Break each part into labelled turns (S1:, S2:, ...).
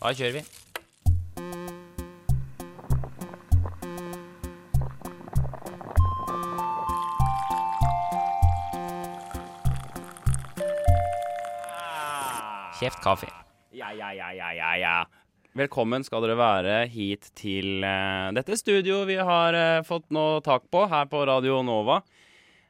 S1: Da kjører vi. Kjeft kaffe.
S2: Ja, ja, ja, ja, ja, ja. Velkommen skal dere være hit til eh, dette studioet vi har eh, fått nå tak på her på Radio Nova.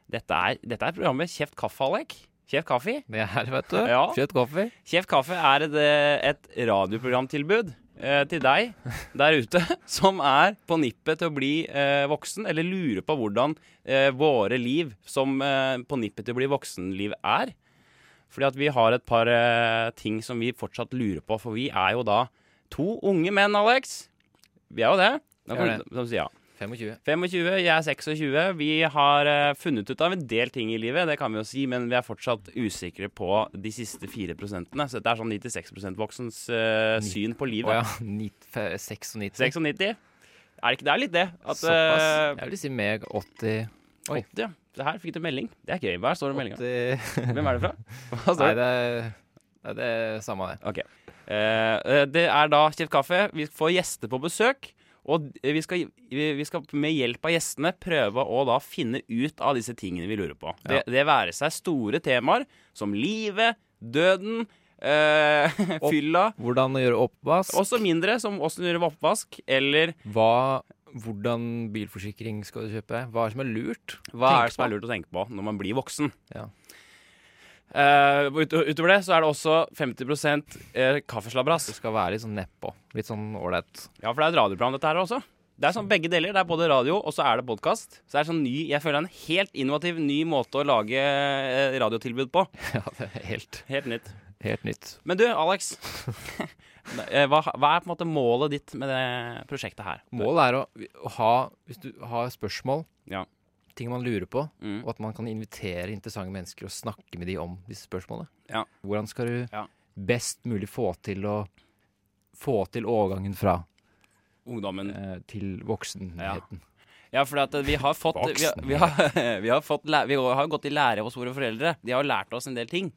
S2: Dette er, dette er programmet Kjeft kaffe, Alek. Kjeft kaffe.
S1: Det her, vet du.
S2: Ja.
S1: Kjøtt kaffe.
S2: Kjeft kaffe er et, eh, et radioprogramtilbud eh, til deg der ute som er på nippet til å bli eh, voksen, eller lurer på hvordan eh, våre liv som eh, på nippet til å bli voksenliv er. Fordi at vi har et par eh, ting som vi fortsatt lurer på, for vi er jo da to unge menn, Alex. Vi er jo det. Da
S1: Vi
S2: kan
S1: er
S2: du- som sier ja.
S1: 25.
S2: 25, jeg er 26. Vi har eh, funnet ut av en del ting i livet, det kan vi jo si, men vi er fortsatt usikre på de siste 4 prosentene. Så dette er sånn 96 voksens eh, syn på
S1: Å ja.
S2: livet.
S1: 96.
S2: 96. Er det ikke det er litt det? At,
S1: Såpass.
S2: eh,
S1: Jeg vil si meg 80 Oi.
S2: 80, ja. Det her fikk du melding. Det er gøy. Hva står det i meldinga?
S1: 80
S2: Hvem er det fra? Hva
S1: Nei,
S2: står det?
S1: det er, det er det samme, det.
S2: Ok. Eh, eh, det er da Kjeft kaffe. Vi får gjester på besøk. Og d- vi skal, vi vi skal med hjelp av gjestene prøve å da finne ut av disse tingene vi lurer på. Det, det være seg store temaer som livet, døden, eh, fylla.
S1: Hvordan å gjøre oppvask.
S2: Også mindre, som åssen gjøre oppvask, eller
S1: Hva, hvordan bilforsikring skal du kjøpe? Hva er det som er lurt?
S2: hva
S1: Tenk
S2: er det som
S1: på.
S2: er lurt å tenke på når man blir voksen.
S1: Ja.
S2: Eh, ut, utover det så er det også 50 eh, kaffeslabras.
S1: Det skal være litt sånn nedpå. Litt sånn ålreit.
S2: Ja, for det er et radioprogram dette her også. Det er sånn begge deler. Det er både radio, og så er det podkast. Så det er sånn ny Jeg føler det er en helt innovativ ny måte å lage eh, radiotilbud på.
S1: Ja, det er helt,
S2: Helt nytt.
S1: helt nytt.
S2: Men du, Alex. eh, hva, hva er på en måte målet ditt med det prosjektet her?
S1: Målet er å, å ha Hvis du har spørsmål,
S2: Ja.
S1: ting man lurer på,
S2: Mm.
S1: og at man kan invitere interessante mennesker og snakke med de om disse spørsmålene.
S2: Ja.
S1: Hvordan skal du
S2: Ja.
S1: best mulig få til å få til overgangen fra
S2: Ungdommen.
S1: eh, til voksenheten?
S2: Ja, for vi har fått vi har, vi har, vi har, fått, læ- vi har jo gått i lære hos våre foreldre. De har jo lært oss en del ting.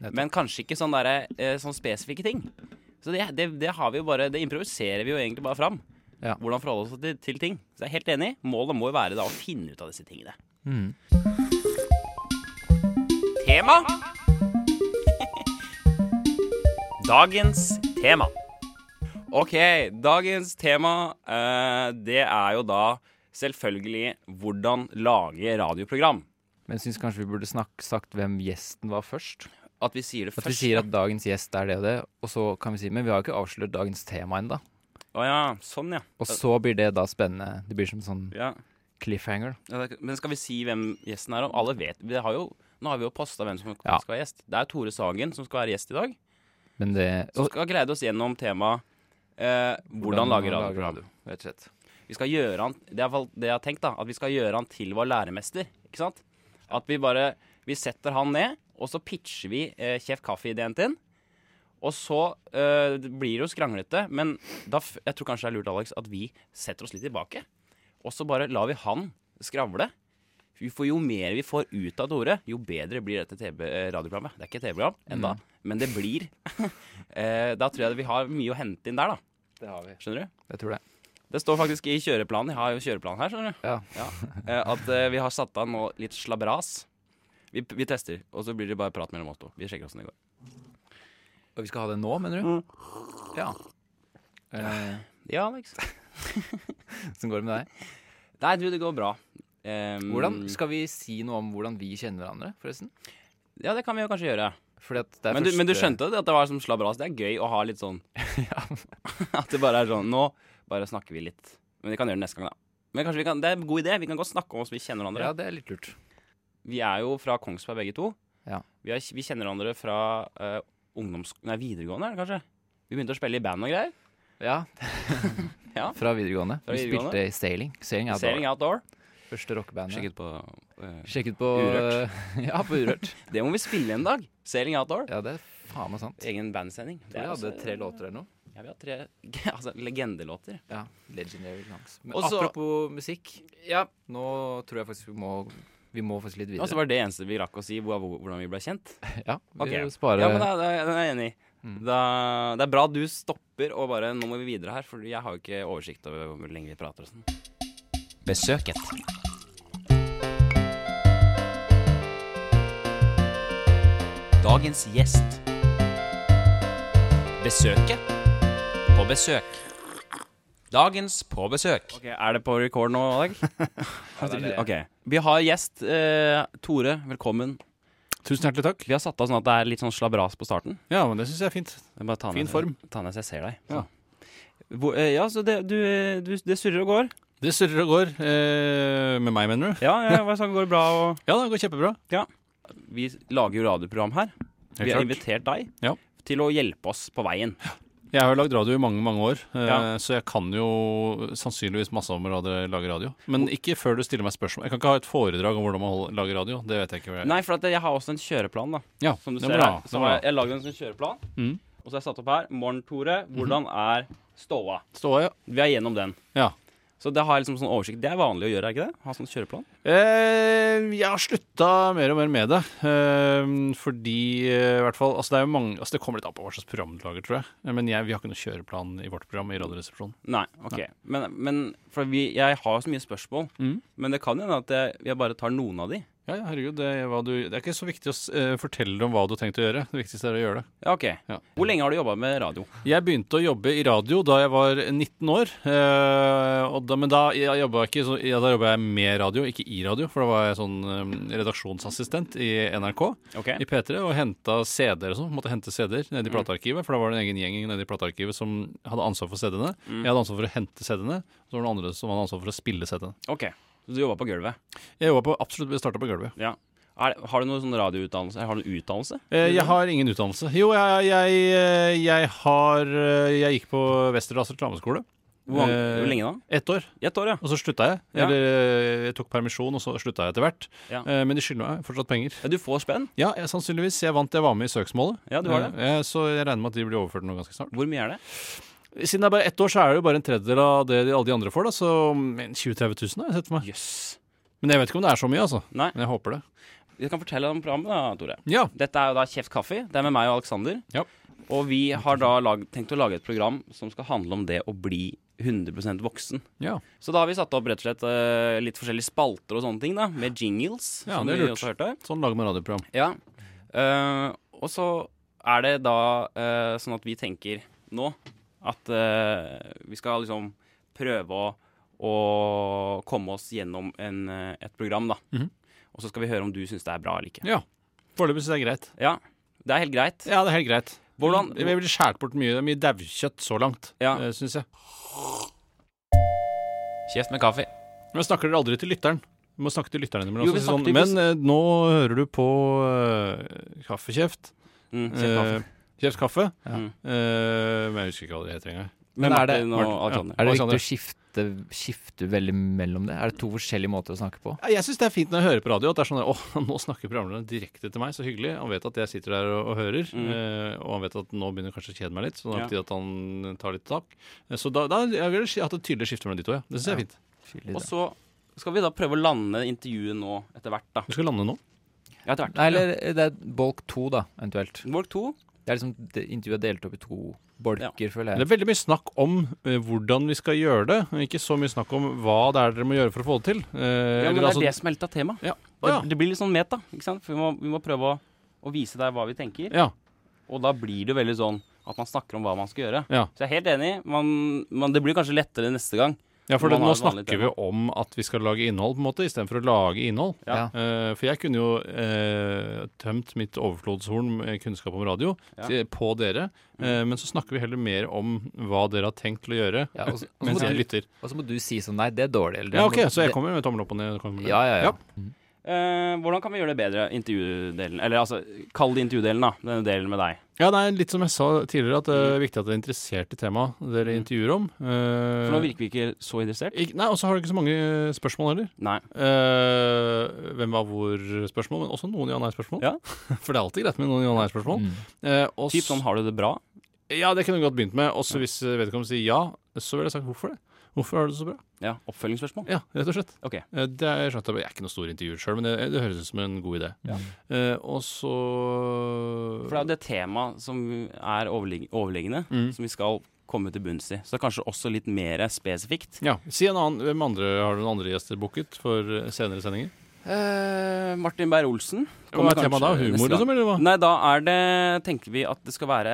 S1: Nettopp.
S2: Men kanskje ikke sånne, derre, eh, sånn spesifikke ting. Så det, det, det har vi jo bare Det improviserer vi jo egentlig bare fram.
S1: Ja.
S2: Hvordan forholde oss til, til ting. Så jeg er helt enig. Målet må jo være da å finne ut av disse tingene.
S1: Mm.
S2: Tema Dagens tema. Ok, dagens tema eh, det er jo da selvfølgelig hvordan lage radioprogram.
S1: Men syns kanskje vi burde snakke, sagt hvem gjesten var først.
S2: At vi sier det
S1: At
S2: først.
S1: vi sier at dagens gjest er det og det, og så kan vi si Men vi har jo ikke avslørt dagens tema ennå.
S2: Å ja, sånn ja.
S1: Og så blir det da spennende. Det blir som sånn
S2: ja.
S1: cliffhanger.
S2: Ja, det- Men skal vi si hvem gjesten er om? Alle vet vi har jo, Nå har vi jo posta hvem som
S1: Ja.
S2: skal være gjest. Det er Tore Sagen som skal være gjest i dag.
S1: Men det
S2: Som skal greide oss gjennom temaet eh, hvordan lage
S1: man
S2: radio.
S1: Rett og slett.
S2: Vi skal gjøre han, Det er i hvert fall det jeg har tenkt, da. At vi skal gjøre han til vår læremester. Ikke sant? At vi bare Vi setter han ned, og så pitcher vi eh, Kjeft kaffe-ideen til han. Og så eh, det blir det jo skranglete, men da, f- jeg tror kanskje det er lurt, Alex, at vi setter oss litt tilbake. Og så bare lar vi han skravle. Vi får, jo mer vi får ut av Tore, jo bedre blir dette TV eh, radioprogrammet. Det er ikke et TV-program ennå,
S1: Mm.
S2: men det blir. eh, da tror jeg vi har mye å hente inn der, da.
S1: Det har vi.
S2: Skjønner du?
S1: Jeg tror det.
S2: Det står faktisk i kjøreplanen. Jeg har jo kjøreplan her, skjønner du.
S1: Ja.
S2: Eh, At eh, vi har satt av nå litt slabras. Vi, vi tester, og så blir det bare prat mellom oss to. Vi sjekker åssen det går.
S1: Og vi skal ha det nå, mener du?
S2: Mm.
S1: Ja. Eh,
S2: Ja, Alex.
S1: Hvordan går det med deg?
S2: Nei, du, det går bra. Ehm,
S1: Hvordan, skal vi si noe om hvordan vi kjenner hverandre, forresten?
S2: Ja, det kan vi jo kanskje gjøre.
S1: Fordi at det er
S2: Men du, men du
S1: første-
S2: skjønte at det var som slabras? Det er gøy å ha litt sånn At det bare er sånn Nå bare snakker vi litt. Men vi kan gjøre det neste gang, da. Men kanskje vi kan, Det er en god idé. Vi kan godt snakke om oss vi kjenner hverandre.
S1: Ja, det er litt lurt.
S2: Vi er jo fra Kongsberg begge to.
S1: Ja.
S2: Vi, er, vi kjenner hverandre fra eh, ungdoms... Nei, videregående, er det kanskje? Vi begynte å spille i band og greier.
S1: Ja.
S2: Ja.
S1: Fra videregående.
S2: Fra
S1: vi
S2: videregående.
S1: spilte i Sailing. Sailing er
S2: Sailing
S1: det
S2: Outdoor.
S1: første rockebandet.
S2: Sjekket på eh,
S1: Sjekket på
S2: Urørt.
S1: ja, på Urørt.
S2: Det må vi spille en dag. Sailing Outdoor.
S1: Ja, det er faen meg sant.
S2: Egen bandsending. Det
S1: Vi
S2: er
S1: hadde
S2: altså-
S1: tre låter eller noe.
S2: Ja, vi har tre altså, legendelåter.
S1: Ja, Legendary Lungs. Men
S2: Også-
S1: apropos musikk, ja, nå tror jeg faktisk vi må, vi må faktisk litt
S2: Og så
S1: videre.
S2: var det det eneste vi rakk å si hvor, hvor- hvordan vi ble kjent.
S1: Ja, vi
S2: Ok.
S1: sparer
S2: Ja, men da, da, da er jeg enig. Da, det er bra du stopper og bare Nå må vi videre her, for jeg har jo ikke oversikt over hvor lenge vi prater og sånn. Besøket. Dagens gjest. Besøket på besøk. Dagens på besøk. Ok, Er det på record nå, Dag? Ok. Vi har gjest. Eh, Tore, velkommen.
S3: Tusen hjertelig takk.
S2: Vi har satt av sånn at det er litt sånn slabras på starten.
S3: Ja, men det syns jeg er fint.
S2: Jeg Bare ta ned,
S3: Fin form.
S2: Ta ned så jeg ser deg.
S3: Ja.
S2: Så. Hvor, eh, ja, så det, du, eh, du, det surrer og går.
S3: Det surrer og går. Eh, med meg, mener du?
S2: Ja, ja hva sa, går det bra? Og...
S3: Ja, det går kjempebra.
S2: Vi lager jo radioprogram her.
S3: Helt
S2: Vi har
S3: klart.
S2: invitert deg
S3: Ja.
S2: til å hjelpe oss på veien.
S3: Jeg har jo lagd radio i mange mange år, eh,
S2: Ja.
S3: så jeg kan jo sannsynligvis masse om å rad- lage radio. Men ikke før du stiller meg spørsmål. Jeg kan ikke ha et foredrag om hvordan man holder- lager radio. Det vet jeg ikke. hva jeg-
S2: Nei, for at jeg har også en kjøreplan, da.
S3: ja,
S2: Som du
S3: det er
S2: ser
S3: bra,
S2: her.
S3: det
S2: Så
S3: er
S2: har
S3: bra.
S2: jeg, jeg lagd en sånn kjøreplan,
S3: Mm. Mhm.
S2: og så har jeg satt opp her. Morgen, Tore. Hvordan er ståa?
S3: Stå, ja.
S2: Vi er gjennom den.
S3: ja.
S2: Så det har jeg liksom sånn oversikt. Det er vanlig å gjøre, er ikke det? Ha sånn kjøreplan.
S3: Eh, jeg har slutta mer og mer med det. Eh, fordi eh, i hvert fall Altså, det er jo mange Altså, det kommer litt an på hva slags program du lager, tror jeg. Eh, Men jeg, vi har ikke noe kjøreplan i vårt program i Radioresepsjonen.
S2: Nei, ok. Men, men for vi, jeg har så mye spørsmål,
S3: Mm.
S2: men det kan hende at jeg, jeg bare tar noen av de.
S3: Ja, ja, herregud, det er, hva du, det er ikke så viktig å s- eh, fortelle om hva du har tenkt å gjøre. Det viktigste er å gjøre det.
S2: Ja, ok.
S3: Ja.
S2: Hvor lenge har du jobba med radio?
S3: Jeg begynte å jobbe i radio da jeg var 19 år. eh, og da, men da jeg jobba jeg ikke så, ja, da jobba jeg med radio, ikke i radio. For da var jeg sånn eh, redaksjonsassistent i NRK.
S2: Ok.
S3: i P3 og henta CD-er og sånn. Måtte hente CD-er nede i platearkivet, for da var det en egen gjeng nede i platearkivet som hadde ansvar for CD-ene. Jeg hadde ansvar for å hente CD-ene, og så var det noen andre som hadde ansvar for å spille CD-ene.
S2: ok. Så du jobba på gulvet?
S3: Jeg jobba på absolutt Vi starta på gulvet.
S2: Ja. Er, har du noen sånn radioutdannelse? Har du noen utdannelse?
S3: Eh, Jeg har ingen utdannelse. Jo, jeg, jeg, eh, jeg har eh, Jeg gikk på Westerdals reklameskole.
S2: Hvor, mange,
S3: Eh,
S2: hvor lenge da?
S3: Ett år.
S2: I ett år, ja.
S3: Og så slutta jeg.
S2: Ja.
S3: Eller eh, jeg tok permisjon, og så slutta jeg etter hvert.
S2: Ja.
S3: Eh, Men de skylder meg fortsatt penger.
S2: ja. Du får spenn.
S3: Ja, jeg, sannsynligvis. Jeg vant. Jeg var med i søksmålet.
S2: Ja, du var det.
S3: Eh, eh, Så jeg regner med at de blir overført nå ganske snart.
S2: Hvor mye er det?
S3: Siden det er bare ett år, så er det jo bare en tredjedel av det de, alle de andre får, da. Så 20 000-30 000 har jeg sett for meg.
S2: Jøss.
S3: Men jeg vet ikke om det er så mye, altså.
S2: Nei.
S3: Men jeg håper det.
S2: Jeg kan fortelle om programmet, da, Tore.
S3: Ja.
S2: Dette er jo da Kjeft kaffe. Det er med meg og Aleksander.
S3: Ja.
S2: Og vi har da lag, tenkt å lage et program som skal handle om det å bli 100 voksen.
S3: ja.
S2: Så da har vi satt opp rett og slett eh, litt forskjellige spalter og sånne ting, da. Med jingles,
S3: Ja,
S2: som
S3: det
S2: vi
S3: er lurt.
S2: også hørte.
S3: Sånn lager man radioprogram.
S2: Ja. Eh, og så er det da eh, sånn at vi tenker nå at eh, vi skal liksom prøve å, å komme oss gjennom en, eh, et program, da.
S3: Mhm.
S2: Og så skal vi høre om du syns det er bra eller ikke.
S3: Ja. Foreløpig syns jeg det er greit.
S2: Ja, det er helt greit.
S3: Ja, det er helt greit.
S2: Hvordan-
S3: Vi blir skåret bort mye. Det er mye daukjøtt så langt,
S2: Ja.
S3: eh, syns jeg.
S1: Kjeft med kaffe.
S3: Men snakker dere aldri til lytteren? Vi må snakke til lytteren innimellom.
S2: Jo, vi
S3: også, sånn,
S2: snakker- vi-
S3: men eh, nå hører du på eh, Kaffekjeft.
S2: Mm, kjeft kaffe.
S3: Eh, Kjeft kaffe.
S2: Mm.
S3: Eh, men jeg husker ikke hva det heter engang.
S1: Men
S2: Med
S1: er det-
S2: Martin og
S3: Martin, ja.
S2: Alexander.
S1: Er det
S3: Alexander.
S1: viktig å skifte, skifte veldig mellom det? Er det to forskjellige måter å snakke på?
S3: Ja, Jeg syns det er fint når jeg hører på radio at det er sånn der, åh, nå snakker programlederen direkte til meg, så hyggelig. Han vet at jeg sitter der og, og hører,
S2: Mm.
S3: eh, og han vet at nå begynner jeg kanskje å kjede meg litt, så nå er
S2: Ja.
S3: det på tide at han tar litt tak. Eh, Så da, da jeg vil si at det tydelig skifter mellom de to, ja. Det syns jeg er fint.
S1: Skyldig,
S2: Og
S1: da.
S2: så skal vi da prøve å lande intervjuet nå etter hvert, da.
S3: Du skal lande nå?
S2: Ja, etter hvert.
S1: Nei, eller det er bolk to, da, eventuelt.
S2: Bolk to.
S1: Det er liksom det- Intervjuet er delt opp i to bolker, føler jeg.
S3: Det er veldig mye snakk om eh, hvordan vi skal gjøre det, men ikke så mye snakk om hva det er dere må gjøre for å få det til. Eh,
S2: Ja, men
S3: eller
S2: det er
S3: altså-
S2: det som er litt av temaet.
S3: Ja.
S2: Det,
S3: Ja.
S2: det blir litt sånn meta, ikke sant? For vi må, vi må prøve å, å vise deg hva vi tenker.
S3: ja.
S2: Og da blir det veldig sånn at man snakker om hva man skal gjøre.
S3: Ja.
S2: Så jeg er helt enig. Man, man, det blir kanskje lettere neste gang.
S3: ja, for
S2: Man
S3: det, nå
S2: har et vanlig
S3: snakker vi om at vi skal lage innhold, på en måte, istedenfor å lage innhold.
S2: Ja.
S1: Ja.
S3: Eh, for jeg kunne jo eh, tømt mitt overflodshorn med kunnskap om radio
S2: Ja.
S3: til, på dere, eh, men så snakker vi heller mer om hva dere har tenkt til å gjøre
S1: Ja, og
S2: Altså,
S1: så- og så
S3: mens
S1: må
S3: jeg
S1: du-
S3: lytter.
S1: og så må du si sånn Nei, det er dårlig. Eller, det må-
S3: Ja, ok, Så jeg
S1: det-
S3: kommer med tommel opp og ned? kommer med-
S1: Ja, ja, ja.
S3: Ja.
S2: Eh, hvordan kan vi gjøre det bedre, intervjudelen? Eller altså, kall det intervjudelen, da. Denne delen med deg.
S3: Ja, nei, Litt som jeg sa tidligere, at det
S2: Mm.
S3: er viktig at dere er interessert i temaet dere intervjuer om. eh,
S2: For nå virker vi ikke så interessert.
S3: ikke, nei, Og så har dere ikke så mange spørsmål heller.
S2: Nei.
S3: Eh, hvem var hvor-spørsmål, men også noen ja-nei-spørsmål.
S2: Ja.
S3: For det er alltid greit med noen ja-nei-spørsmål.
S1: Mm.
S3: Eh, og
S2: Typ sånn, har du det bra?
S3: Ja, det kunne vi godt begynt med. Også hvis eh, vedkommende sier ja, så ville jeg sagt hvorfor det. Hvorfor er det så bra?
S2: Ja, Oppfølgingsspørsmål?
S3: Ja, rett og slett.
S2: Ok.
S3: Eh, Det er, jeg, skjønte, jeg er ikke noe stor intervjuer sjøl, men det, det høres ut som en god idé. Eh, og så
S2: For det er jo det temaet som er overlig- overliggende,
S3: Mm.
S2: som vi skal komme til bunns i. Så det er kanskje også litt mer spesifikt.
S3: ja, si en annen, hvem andre Har du noen andre gjester booket for eh, senere sendinger?
S2: Eh, Martin Beyer-Olsen.
S3: Hva
S2: kommer
S3: er temaet da?
S2: kanskje neste
S3: Humor,
S2: gang.
S3: liksom? eller hva?
S2: Nei, da er det, tenker vi at det skal være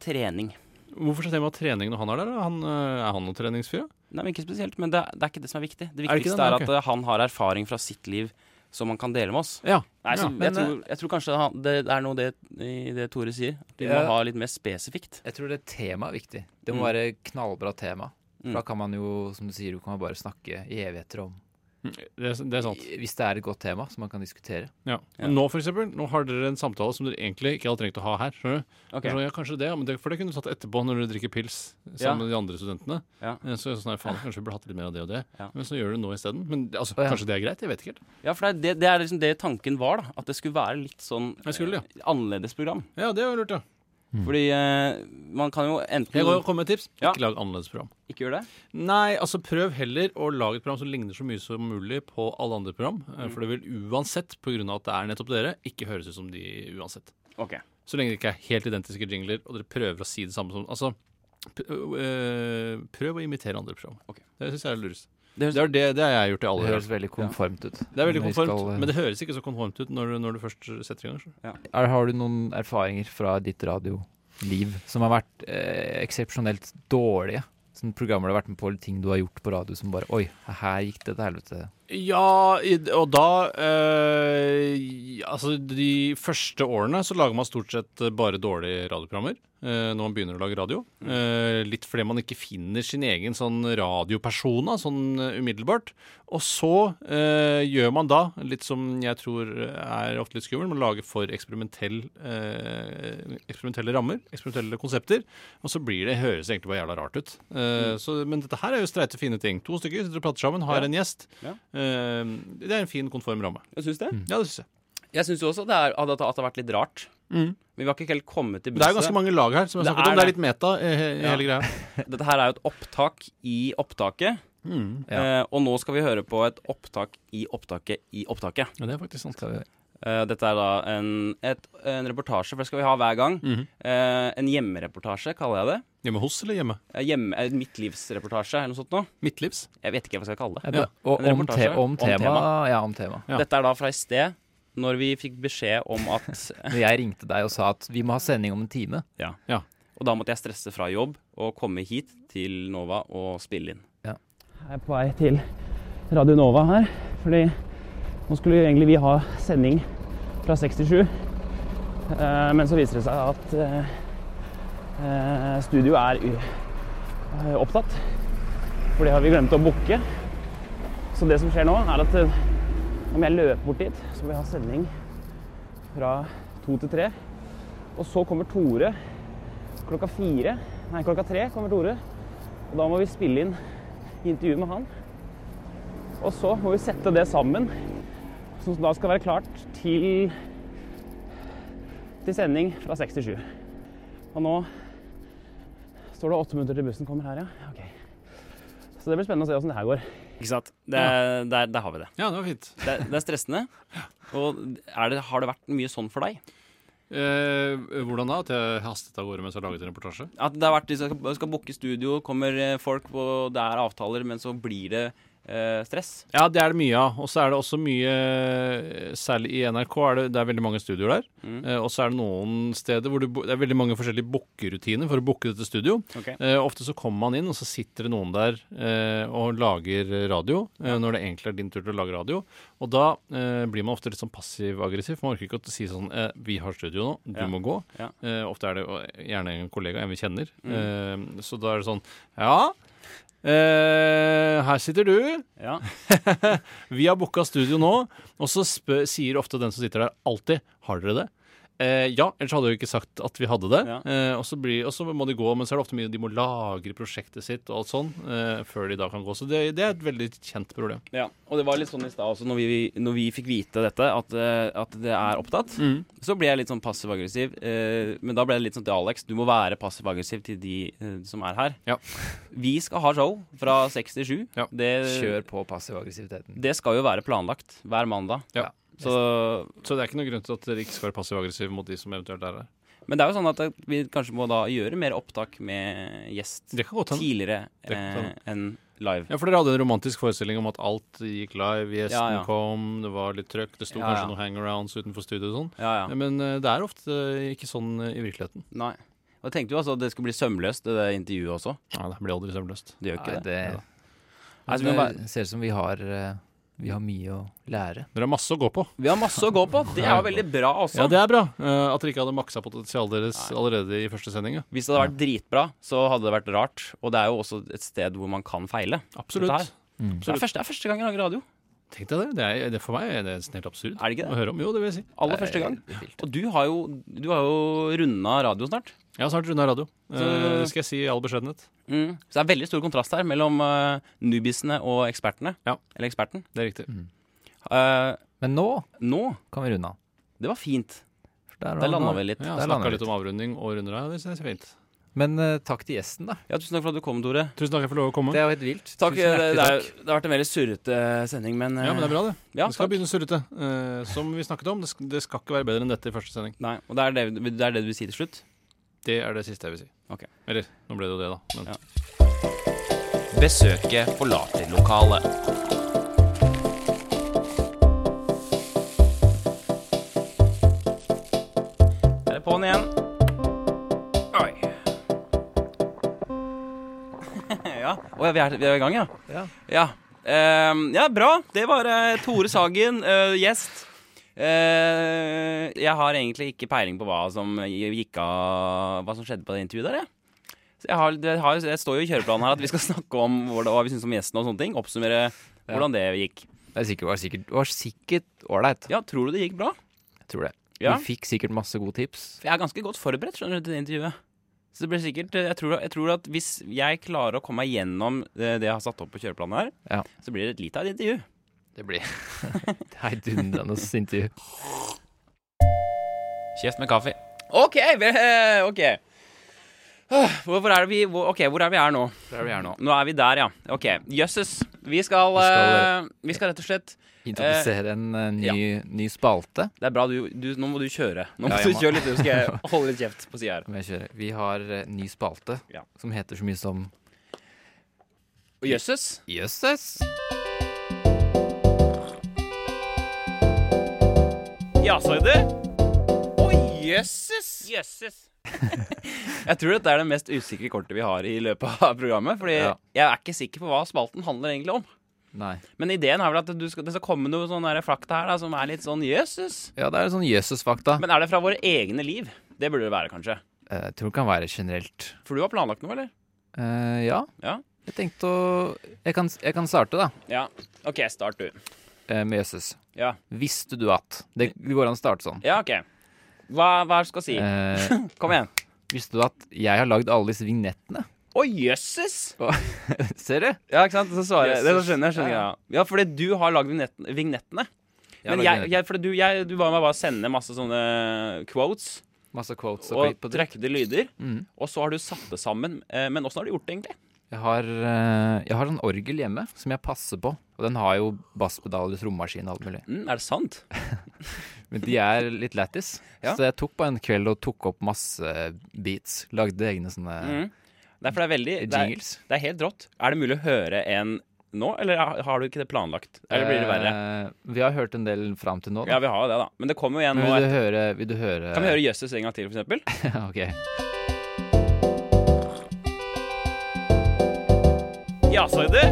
S2: trening.
S3: Hvorfor er temaet trening når han er der? da? Han, eh, er han noen treningsfyr? ja?
S2: Nei, men ikke spesielt, men det, er- det er ikke det som er viktig. Det
S3: Er det ikke
S2: viktigste
S3: det?
S2: er,
S3: Ok.
S2: at eh, han har erfaring fra sitt liv som han kan dele med oss.
S3: Ja. eh,
S2: Nei, så
S1: men,
S2: jeg, tror, jeg tror kanskje han, det er noe det, i det Tore sier. At vi må
S1: Ja.
S2: ha litt mer spesifikt.
S1: Jeg tror det temaet er viktig. Det
S2: Mm.
S1: må være knallbra tema.
S2: Mm.
S1: For da kan man jo, som du sier, du kan bare snakke i evigheter om
S3: Mm, Det, er- det er sant.
S1: Hvis det er et godt tema som man kan diskutere.
S3: Ja.
S2: Ja.
S3: Men nå, for eksempel, nå har dere en samtale som dere egentlig ikke hadde trengt å ha her. skjønner du?
S2: Ok.
S3: Så, ja, kanskje det, ja, men det, For det kunne du tatt etterpå når du drikker pils
S2: Ja.
S3: sammen med de andre studentene.
S2: Ja.
S3: Eh, Så er det sånn, nei, faen, Kanskje vi burde hatt litt mer av det og det.
S2: Ja.
S3: Men så gjør du det nå isteden. Men altså,
S1: Å, ja.
S3: kanskje det er greit? Jeg vet ikke helt.
S2: Ja, for det, er- det er liksom det tanken var, da. At det skulle være litt sånn
S3: Jeg skulle, ja.
S2: eh, annerledes program.
S3: Ja, det var lurt, ja.
S2: Fordi eh, man kan jo enten
S3: Jeg går og kommer med et tips.
S2: Ja.
S3: Ikke lag annerledes program.
S2: ikke gjøre det.
S3: Nei, altså prøv heller å lage et program som ligner så mye som mulig på alle andre program. eh, For det vil uansett, pga. at det er nettopp dere, ikke høres ut som de uansett.
S2: Ok.
S3: Så lenge det ikke er helt identiske jingler, og dere prøver å si det samme som Altså, p øh, prøv å imitere andre program.
S2: Ok.
S3: Det syns jeg er lurest.
S2: Det
S3: Det er det, det har jeg gjort i
S1: Det
S3: alle år.
S1: høres veldig konformt ut.
S3: Det er veldig
S1: Men vi
S3: konformt,
S1: skal, eh,
S3: men det høres ikke så konformt ut når du, når du først setter i gang. skjønner du.
S1: er, Har du noen erfaringer fra ditt radioliv som har vært eh, eksepsjonelt dårlige? Sånn programmer du har vært med på, eller ting du har gjort på radio som bare Oi, her gikk det til helvete.
S3: Ja, i- og da øh, Altså, de første årene så lager man stort sett bare dårlige radioprogrammer. øh, når man begynner å lage radio. Eh, litt fordi man ikke finner sin egen sånn radiopersona sånn øh, umiddelbart. Og så øh, gjør man da, litt som jeg tror er ofte litt skummelt, man lager for eksperimentell, øh, eksperimentelle rammer, eksperimentelle konsepter. Og så blir det, høres det egentlig bare jævla rart ut. Eh, så, men dette her er jo streite, fine ting. To stykker sitter og prater sammen, har
S2: Ja.
S3: en gjest.
S2: Ja.
S3: Eh, det er en fin, konform ramme.
S2: Jeg syns det.
S3: Ja, det syns jeg.
S2: Mm. Jeg syns jo også det er, at, det- at det har vært litt rart. Men vi har ikke helt kommet til
S3: Mm. Det er jo
S2: bunns i
S3: ganske mange lag her, som jeg
S2: Det
S3: har snakket
S2: er
S3: om. Det er
S2: det.
S3: litt meta, eh, he-
S2: Ja.
S3: hele greia.
S2: Dette her er jo et opptak i opptaket.
S3: Mm.
S2: Eh, og nå skal vi høre på et opptak i opptaket i opptaket.
S3: Ja, det er faktisk sant.
S2: Eh, dette er da en, et, en reportasje, for det skal vi ha hver gang.
S3: Mm.
S2: eh, en hjemmereportasje, kaller jeg det.
S3: Hjemme hos eller hjemme?
S2: Eh, Hjemme, eh, midtlivsreportasje, eller noe sånt noe.
S3: Midtlivs.
S2: Jeg vet ikke hva jeg skal kalle det.
S1: Ja, det- Og
S2: En
S1: om, te
S2: reportasje om
S1: om tema.
S2: tema.
S1: Ja, om tema.
S3: Ja.
S2: Dette er da fra i sted, når vi fikk beskjed om at
S1: Når jeg ringte deg og sa at vi må ha sending om en time.
S2: Og da måtte jeg stresse fra jobb og komme hit til Nova og spille inn.
S4: Jeg er på vei til Radio Nova her, fordi nå skulle egentlig vi ha sending fra 6 til 7. Eh, Men så viser det seg at eh, eh, studio er u- eh, opptatt, for det har vi glemt å booke. Så det som skjer nå, er at eh, om jeg løper bort dit, så må jeg ha sending fra 2 til 3. Og så kommer Tore klokka 4, nei klokka 3 kommer Tore, og da må vi spille inn intervju med han. Og så må vi sette det sammen, som da skal være klart til, til sending fra 6 til 7. Og nå står det åtte minutter til bussen kommer her, ja. Ok. Så det blir spennende å se åssen det her går.
S2: Ikke sant? Det, der, der har vi det.
S3: Ja, det var fint.
S2: Det, det er stressende. Og er det, har det vært mye sånn for deg?
S3: Eh, hvordan da? At jeg hastet av gårde mens jeg laget en reportasje?
S2: At det har vært, liksom, skal, skal booke studio, kommer eh, folk, og det er avtaler, men så blir det eh, stress?
S3: Ja, det er det mye av. Og så er det også mye Særlig i NRK er det, det er veldig mange studioer der. Eh, og så er det noen steder hvor du, bo- det er veldig mange forskjellige bookerutiner for å booke dette studio.
S2: Ok.
S3: Eh, ofte så kommer man inn, og så sitter det noen der eh, og lager radio. Eh, når det egentlig er din tur til å lage radio. Og da eh, blir man ofte litt sånn passiv-aggressiv. Man orker ikke å si sånn eh, 'Vi har studio nå. Du
S2: Ja.
S3: må gå'.
S2: Ja.
S3: Eh, ofte er det jo gjerne en kollega, en vi kjenner.
S2: Mm.
S3: Eh, så da er det sånn Ja, eh, her sitter du.
S2: Ja.
S3: Vi har booka studio nå, og så spør, sier ofte den som sitter der, alltid 'Har dere det?' Eh, ja, ellers hadde jeg jo ikke sagt at vi hadde det.
S2: Ja.
S3: Eh, og så blir- og så må de gå, men så er det ofte mye de må lagre prosjektet sitt og alt sånn eh, før de da kan gå. Så det, det er et veldig kjent problem.
S2: Ja, og det var litt sånn i stad også, når vi, når vi fikk vite dette, at, eh, at det er opptatt,
S3: Mm.
S2: så ble jeg litt sånn passiv-aggressiv. Eh, men da ble det litt sånn til Alex, du må være passiv-aggressiv til de eh, som er her.
S3: Ja.
S2: Vi skal ha show fra 6 til 7.
S3: Ja.
S2: Det,
S1: Kjør på passiv aggressiviteten.
S2: Eh, det skal jo være planlagt hver mandag.
S3: Ja.
S2: Så,
S3: Så det er ikke noen grunn til at dere ikke skal være passiv-aggressive mot de som eventuelt er her.
S2: men det er jo sånn at vi kanskje må da gjøre mer opptak med gjest
S3: Det kan godt hende.
S2: tidligere
S3: Det kan
S2: eh,
S3: hende.
S2: enn live.
S3: Ja, for dere hadde en romantisk forestilling om at alt gikk live, gjesten
S2: Ja, ja.
S3: kom, det var litt trøkk, det sto
S2: Ja, ja.
S3: kanskje noen hangarounds utenfor studio og sånn.
S2: Ja, ja.
S3: Men eh, det er ofte eh, ikke sånn eh, i virkeligheten.
S2: Nei. Og jeg tenkte jo altså at det skulle bli sømløst, det der intervjuet også.
S3: Nei, det blir aldri søvnløst.
S2: Det gjør ikke
S1: Nei,
S2: det.
S1: det,
S2: Nei, så
S1: Altså,
S3: Ja.
S2: vi må bare-
S1: det ser ut som vi har, eh, vi har mye å lære.
S3: Dere har masse å gå på.
S2: Vi har masse å gå på. Det er jo veldig bra også.
S3: Ja, det er bra. eh, at dere ikke hadde maksa potensialet deres allerede i første sending. Ja.
S2: Hvis det hadde vært dritbra, så hadde det vært rart. Og det er jo også et sted hvor man kan feile. Dette
S3: Absolutt.
S2: her. Det er første, det er første gang jeg lager radio.
S3: Tenk deg det. det, er, det for meg er det nesten helt absurd
S2: Er det ikke det?
S3: å høre om. Jo, det vil jeg si.
S2: Aller første gang. Og du har jo, du har jo runda radio snart.
S3: Jeg har snart runda radio. Eh,
S2: Så-
S3: Det skal jeg si i all beskjedenhet.
S2: Mm. Så det er veldig stor kontrast her mellom eh, nubisene og ekspertene.
S3: Ja.
S2: Eller eksperten.
S3: Det er riktig.
S2: Eh,
S1: Men nå
S2: nå
S1: kan vi runde av.
S2: Det var fint.
S1: For Der,
S2: Der
S1: var-
S2: landa vi litt.
S3: Ja,
S1: Der lander
S3: Snakka
S1: vi
S3: litt om avrunding og runder av. Det synes jeg er fint.
S1: Men eh, takk til gjesten, da.
S2: Ja, Tusen takk for at du kom, Tore.
S3: Tusen takk for at jeg får lov å komme.
S1: Det er jo helt vilt.
S2: Takk, eh,
S1: Tusen
S2: det,
S1: hjertelig
S2: det, er,
S1: takk.
S2: det har vært en veldig surrete sending, men
S3: Ja, men det er bra, det.
S2: Ja,
S3: vi skal
S2: takk.
S3: begynne surrete. Eh, som vi snakket om, det skal, det skal ikke være bedre enn dette i første sending.
S2: Nei, og det er det, det er det du sier til slutt?
S3: Det er det siste jeg vil si.
S2: Ok.
S3: Eller, nå ble det jo det, da. Men
S2: Ja. Besøket forlater lokalet. Der er på'n igjen. Oi. ja. Å ja, vi er, vi er i gang, ja?
S1: Ja.
S2: Ja, Ehm, ja bra. Det var eh, Tore Sagen, eh, gjest. Eh, jeg har egentlig ikke peiling på hva som gikk av Hva som skjedde på det intervjuet der, jeg. Så jeg har, det, har, det står jo i kjøreplanen her at vi skal snakke om hvor det, hva vi syns om gjesten og sånne ting. Oppsummere hvordan det gikk.
S1: Det er sikkert- var sikkert- det var sikkert ålreit.
S2: Ja, tror du det gikk bra?
S1: Jeg tror det.
S2: Ja.
S1: Vi fikk sikkert masse gode tips.
S2: For jeg er ganske godt forberedt skjønner du, til det intervjuet. Så det blir sikkert eh, Jeg tror, jeg tror at hvis jeg klarer å komme meg gjennom det, det jeg har satt opp på kjøreplanen her,
S1: Ja.
S2: så blir det et lite av et intervju.
S1: Det blir heidundrende intervju.
S2: Kjeft med kaffe. OK! ve- eh, ok Åh, Hvorfor er det vi hvor, Ok, hvor er vi her nå?
S1: Der er vi her nå.
S2: Nå er vi der, ja. Ok. Jøsses. Vi skal,
S1: Vi skal,
S2: eh, vi skal rett og slett
S1: Introdusere en eh, ny, ny spalte.
S2: Det er bra, du, du Nå må du kjøre. Nå må
S1: Ja, jeg
S2: du
S1: må-
S2: kjøre litt, så skal jeg holde litt kjeft på sida her.
S1: Om jeg kjører. Vi har eh, ny spalte
S2: Ja.
S1: som heter så mye som
S2: Og Jøsses.
S1: Jøsses.
S2: Ja, sa jeg det? Å, jøsses! jeg tror dette er det mest usikre kortet vi har i løpet av programmet. Fordi
S1: Ja.
S2: jeg er ikke sikker på hva spalten handler egentlig om.
S1: Nei.
S2: Men ideen er vel at du skal, det skal komme noe sånn der fakta her da, som er litt sånn jøsses.
S1: Ja, det er sånn Jøsses-fakta.
S2: Men er det fra våre egne liv? Det burde det være, kanskje.
S1: Eh, Jeg tror det kan være generelt.
S2: For du har planlagt noe, eller?
S1: Eh, ja.
S2: Ja.
S1: Jeg tenkte å Jeg kan, jeg kan starte, da,
S2: Ja. OK, start du.
S1: eh, med Jøsses.
S2: Ja.
S1: Visste du at Det, det går an å starte sånn.
S2: Ja, OK. Hva, hva er det du skal si?
S1: Eh,
S2: Kom igjen.
S1: visste du at jeg har lagd alle disse vignettene?
S2: Å, jøsses!
S1: Ser du?
S2: Ja, ikke sant? Så svarer jeg. Det
S1: Jesus.
S2: skjønner jeg. skjønner
S1: Ja,
S2: jeg. Ja, fordi du har lagd vignetten- vignettene.
S1: Jeg har
S2: Men jeg,
S1: lagd vignetten.
S2: jeg, fordi du, jeg, du ba meg bare sende masse sånne quotes
S1: Masse quotes og,
S2: og
S1: klipp og dritt.
S2: trekkede lyder.
S1: Mhm.
S2: Og så har du satt det sammen. Eh, Men åssen har du gjort det, egentlig?
S1: Jeg har, eh, jeg har sånn orgel hjemme som jeg passer på. Og den har jo basspedaler, trommaskin og alt mulig.
S2: Mm, er det sant?
S1: Men de er litt lættis.
S2: Ja.
S1: Så jeg tok på en kveld og tok opp masse beats. Lagde egne sånne
S2: Mhm. Det er, for det er veldig det er,
S1: jingles.
S2: det er helt rått. Er det mulig å høre en nå, eller har har du ikke det planlagt? Eller blir det verre?
S1: Eh, vi har hørt en del fram til nå.
S2: Ja,
S1: Da.
S2: vi har jo det, da. Men det kommer jo en
S1: Men
S2: nå.
S1: vil du
S2: et-
S1: høre, vil du høre
S2: Kan vi høre Jøsses en gang til, for eksempel?
S1: ok.
S2: Ja, sa jeg det?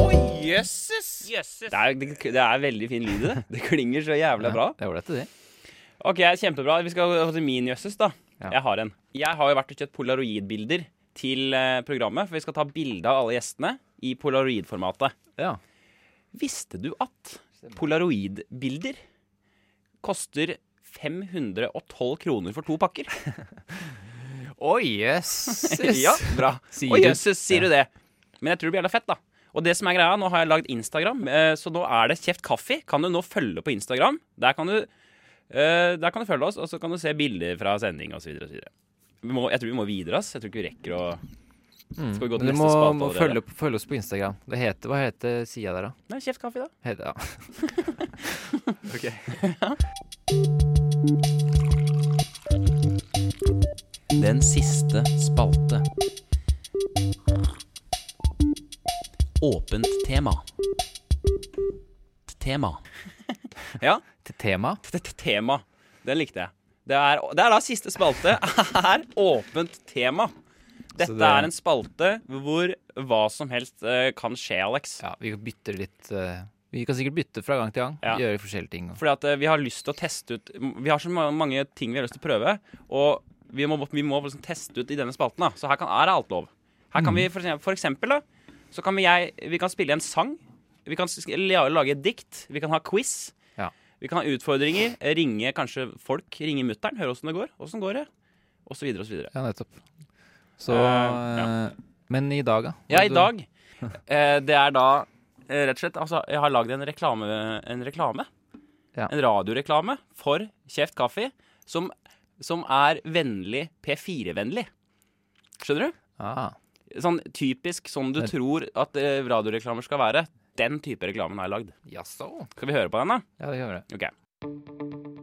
S2: Å, jøsses! Det er, det, det er veldig fin lyd i det. Det klinger så jævla bra.
S1: Ja, Det er ålreit, det.
S2: Ok, kjempebra. Vi skal gå til min jøsses, da.
S1: Ja.
S2: Jeg har en. Jeg har jo vært og kjøpt polaroidbilder til eh, programmet, for vi skal ta bilde av alle gjestene i polaroidformatet.
S1: Ja.
S2: Visste du at polaroidbilder koster 512 kroner for to pakker.
S1: Oi, jøss!
S2: ja, bra.
S1: Sier
S2: Å
S1: du.
S2: jøsses, sier du det? Men jeg tror det blir jævla fett, da. Og det som er greia, nå har jeg lagd Instagram, eh, så nå er det Kjeft kaffe. Kan du nå følge på Instagram? Der kan du, eh, der kan du følge oss, og så kan du se bilder fra sending osv. Jeg tror vi må videre, ass. Jeg tror ikke vi rekker å Skal Mm. vi gå til
S1: Men
S2: neste
S1: du må,
S2: spalte
S1: må
S2: allerede?
S1: følge, følge oss på Instagram. Det heter, hva heter sida der, da?
S2: Nei, Kjeft kaffe, da.
S1: Heter, ja.
S2: Den siste spalte. Åpent tema. Tema. ja,
S1: Til tema.
S2: dette tema. Den likte jeg. Det er, det er da siste spalte er åpent tema. Dette
S1: Så det-
S2: er en spalte hvor hva som helst eh, kan skje, Alex.
S1: Ja, vi bytter litt eh, Vi kan sikkert bytte fra gang til gang.
S2: Ja.
S1: Gjøre forskjellige ting.
S2: Fordi at eh, vi har lyst til å teste ut Vi har så ma- mange ting vi har lyst til å prøve, og vi må, vi må liksom teste ut i denne spalten. da Så her kan, er alt lov. Her kan vi for eksempel, for eksempel da, så kan vi, jeg, vi kan spille en sang. Vi kan s- la- lage et dikt. Vi kan ha quiz.
S1: Ja.
S2: Vi kan ha utfordringer. Ringe kanskje folk. Ringe mutter'n. Høre åssen det går. Åssen går det? Og så videre og så videre.
S1: Ja, nettopp. Så
S2: Eh, ja.
S1: eh, Men i dag, da?
S2: Ja,
S1: Hva
S2: i
S1: du-
S2: dag. Eh, det er da eh, rett og slett Altså, jeg har lagd en reklame. En reklame.
S1: Ja.
S2: En radioreklame for Kjeft kaffe som, som er vennlig P4-vennlig. Skjønner du?
S1: Ah,
S2: Sånn typisk sånn du
S1: Det-
S2: tror at eh, radioreklamer skal være. Den type reklamen har jeg lagd.
S1: Jaså?
S2: Skal vi høre på den, da?
S1: Ja, det gjør det.
S2: Ok.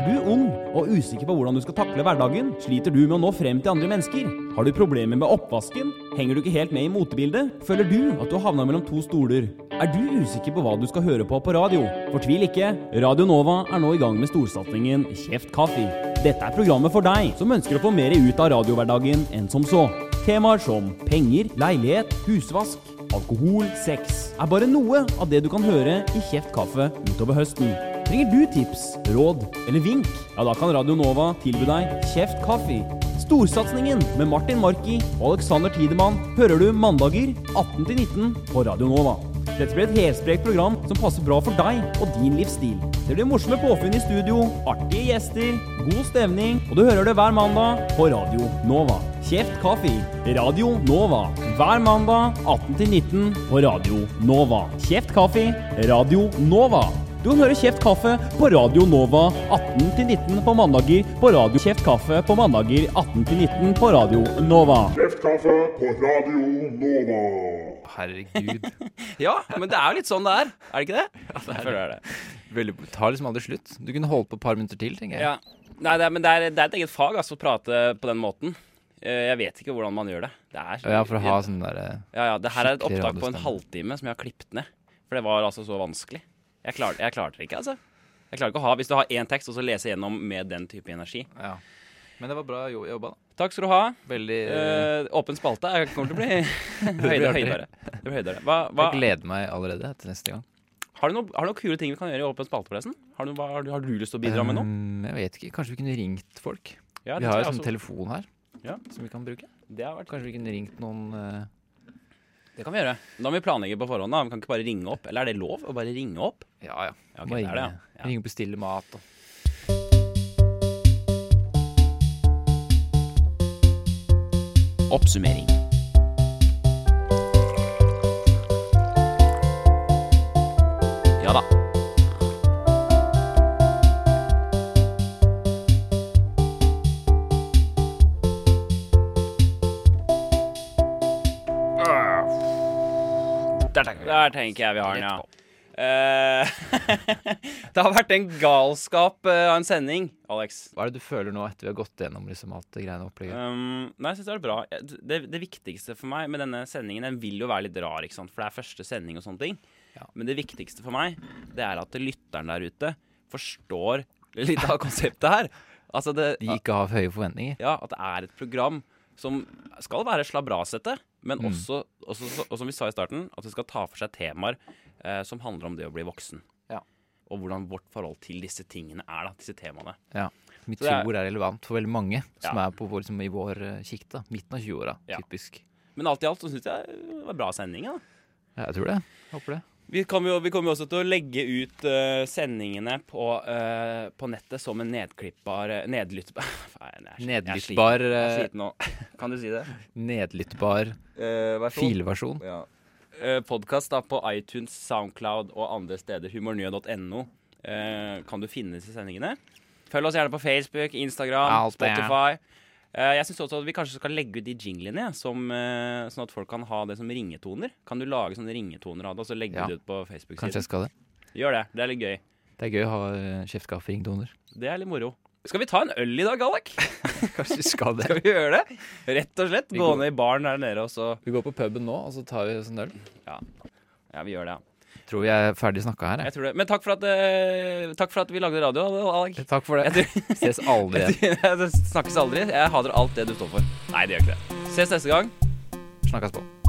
S5: Er du ung og usikker på hvordan du skal takle hverdagen? Sliter du med å nå frem til andre mennesker? Har du problemer med oppvasken? Henger du ikke helt med i motebildet? Føler du at du har havna mellom to stoler? Er du usikker på hva du skal høre på på radio? Fortvil ikke, Radio Nova er nå i gang med storsatsingen Kjeft kaffe. Dette er programmet for deg som ønsker å få mer ut av radiohverdagen enn som så. Temaer som penger, leilighet, husvask Alkohol, sex er bare noe av det du kan høre i Kjeft kaffe utover høsten. Trenger du tips, råd eller vink? Ja, da kan Radio Nova tilby deg Kjeft kaffe. Storsatsingen med Martin Marki og Alexander Tidemann hører du mandager 18-19 på Radio Nova. Dette blir et helsprekt program som passer bra for deg og din livsstil. Det blir morsomme påfunn i studio, artige gjester, god stemning, og du hører det hver mandag på Radio Nova. Kjeft kaffe. Radio Nova. Hver mandag 18-19 på Radio Nova. Kjeft kaffe. Radio Nova. Du kan høre Kjeft kaffe på Radio Nova 18-19 på mandager på Radio Kjeft kaffe på mandager 18-19 på Radio Nova.
S6: Kjeftkaffe på Radio Nova.
S1: Herregud.
S2: Ja, men det er jo litt sånn det er. Er det ikke det? Ja, det er det.
S1: Veldig, tar liksom aldri slutt. Du kunne holdt på et par minutter til, tenker jeg.
S2: Ja. Nei, det er, men det er, det er et eget fag altså, å prate på den måten. Eh, Jeg vet ikke hvordan man gjør det. det er,
S1: Ja, for å ha sånn derre
S2: Ja, ja, det her er et
S1: Skikkelig
S2: opptak på en
S1: radiostemme.
S2: halvtime som jeg har klippet ned. For det var altså så vanskelig. Jeg, klar, jeg klarte det ikke, altså. Jeg klarer ikke å ha, Hvis du har én tekst, og så lese gjennom med den type energi.
S1: ja. Men det var bra jo- jobba, da.
S2: Takk skal du ha.
S1: Veldig eh,
S2: Eh, åpen spalte er- kommer til å bli
S1: blir
S2: høyde,
S1: artig.
S2: høydere. Det blir høydere. Hva,
S1: Jeg
S2: hva,
S1: gleder meg allerede til neste gang.
S2: har, du noen, har du noen kule ting vi kan gjøre i åpen spalte, forresten? Har du, hva, har du, har du lyst til å bidra med noe?
S1: Um, jeg vet ikke. Kanskje vi kunne ringt folk?
S2: Ja,
S1: vi
S2: det tror
S1: har jo
S2: jeg
S1: sånn
S2: også.
S1: telefon her
S2: Ja.
S1: som vi kan bruke.
S2: det, har vært,
S1: Kanskje vi kunne ringt noen eh,
S2: det kan vi gjøre. Da må vi planlegge på forhånd. da Vi kan ikke bare ringe opp. Eller er det lov å bare ringe opp?
S1: Ja, ja.
S2: Ja, ok,
S1: Må
S2: det er
S1: ringe,
S2: det, ja. Ja.
S1: ringe og bestille mat og
S2: Oppsummering. Ja da. Der tenker, jeg vi har den, ja. Eh, det har vært en galskap eh, av en sending, Alex.
S1: Hva er det du føler nå etter vi har gått gjennom liksom alt det greiene opplegget?
S2: Um, nei, jeg synes det var bra. Jeg- Det, det viktigste for meg med denne sendingen Den vil jo være litt rar, ikke sant? for det er første sending og sånne ting.
S1: Ja.
S2: Men det viktigste for meg, det er at lytteren der ute forstår litt av konseptet her. Altså det,
S1: De ikke har høye forventninger.
S2: ja, at det er et program som skal være slabrasete, men
S1: Mm.
S2: også, også, og som vi sa i starten, at det skal ta for seg temaer eh, som handler om det å bli voksen.
S1: Ja.
S2: Og hvordan vårt forhold til disse tingene er, da, disse temaene.
S1: Ja. Som vi
S2: Så det er-
S1: tror er relevant for veldig mange som
S2: Ja.
S1: er på vår, liksom, i vår eh, sjikt. da. Midten av 20-åra,
S2: Ja.
S1: typisk.
S2: Men alt i alt så syns jeg det var bra sending. da
S1: Ja, jeg tror det. Håper det.
S2: Vi, kan jo, vi kommer jo også til å legge ut eh, sendingene på, eh, på nettet som en nedklippbar eh, Nedlyttbar Faen, jeg er sliten. Jeg er sliten. Jeg
S1: Nedlyttbar,
S2: er
S1: eh,
S2: sliten nå. Kan du si det?
S1: nedlyttbar Eh, filversjon.
S2: Ja. Podkast Eh, på iTunes, Soundcloud og andre steder. Humornyhet.no eh, kan du finne disse sendingene. Følg oss gjerne på Facebook, Instagram,
S1: Alt det.
S2: Spotify. Eh, jeg syns også at vi kanskje skal legge ut de jinglene, ja, som, eh, sånn at folk kan ha det som ringetoner. Kan du lage sånne ringetoner av det, og så legge
S1: Ja.
S2: det ut på
S1: Kanskje
S2: Facebook-siden?
S1: jeg skal det.
S2: Gjør det. Det er litt gøy.
S1: Det er gøy å ha eh, kjeftkaffe-ringdoner.
S2: Det er litt moro. Skal vi ta en øl i dag, Gallak?
S1: Kanskje vi skal det.
S2: Skal vi gjøre det? Rett og slett.
S1: Vi
S2: Gå
S1: går-
S2: ned i baren der nede, og så
S1: Vi går på puben nå, og så tar vi oss en øl.
S2: Ja, vi gjør det, ja.
S1: Tror vi er ferdig snakka her,
S2: Jeg tror det. Men takk for at, eh, takk for at vi lagde radio, Alek.
S1: jeg. Takk for det. Ses aldri igjen.
S2: Det snakkes aldri. Jeg hater alt det du står for. Nei, det gjør ikke det. Ses neste gang.
S1: Snakkes på.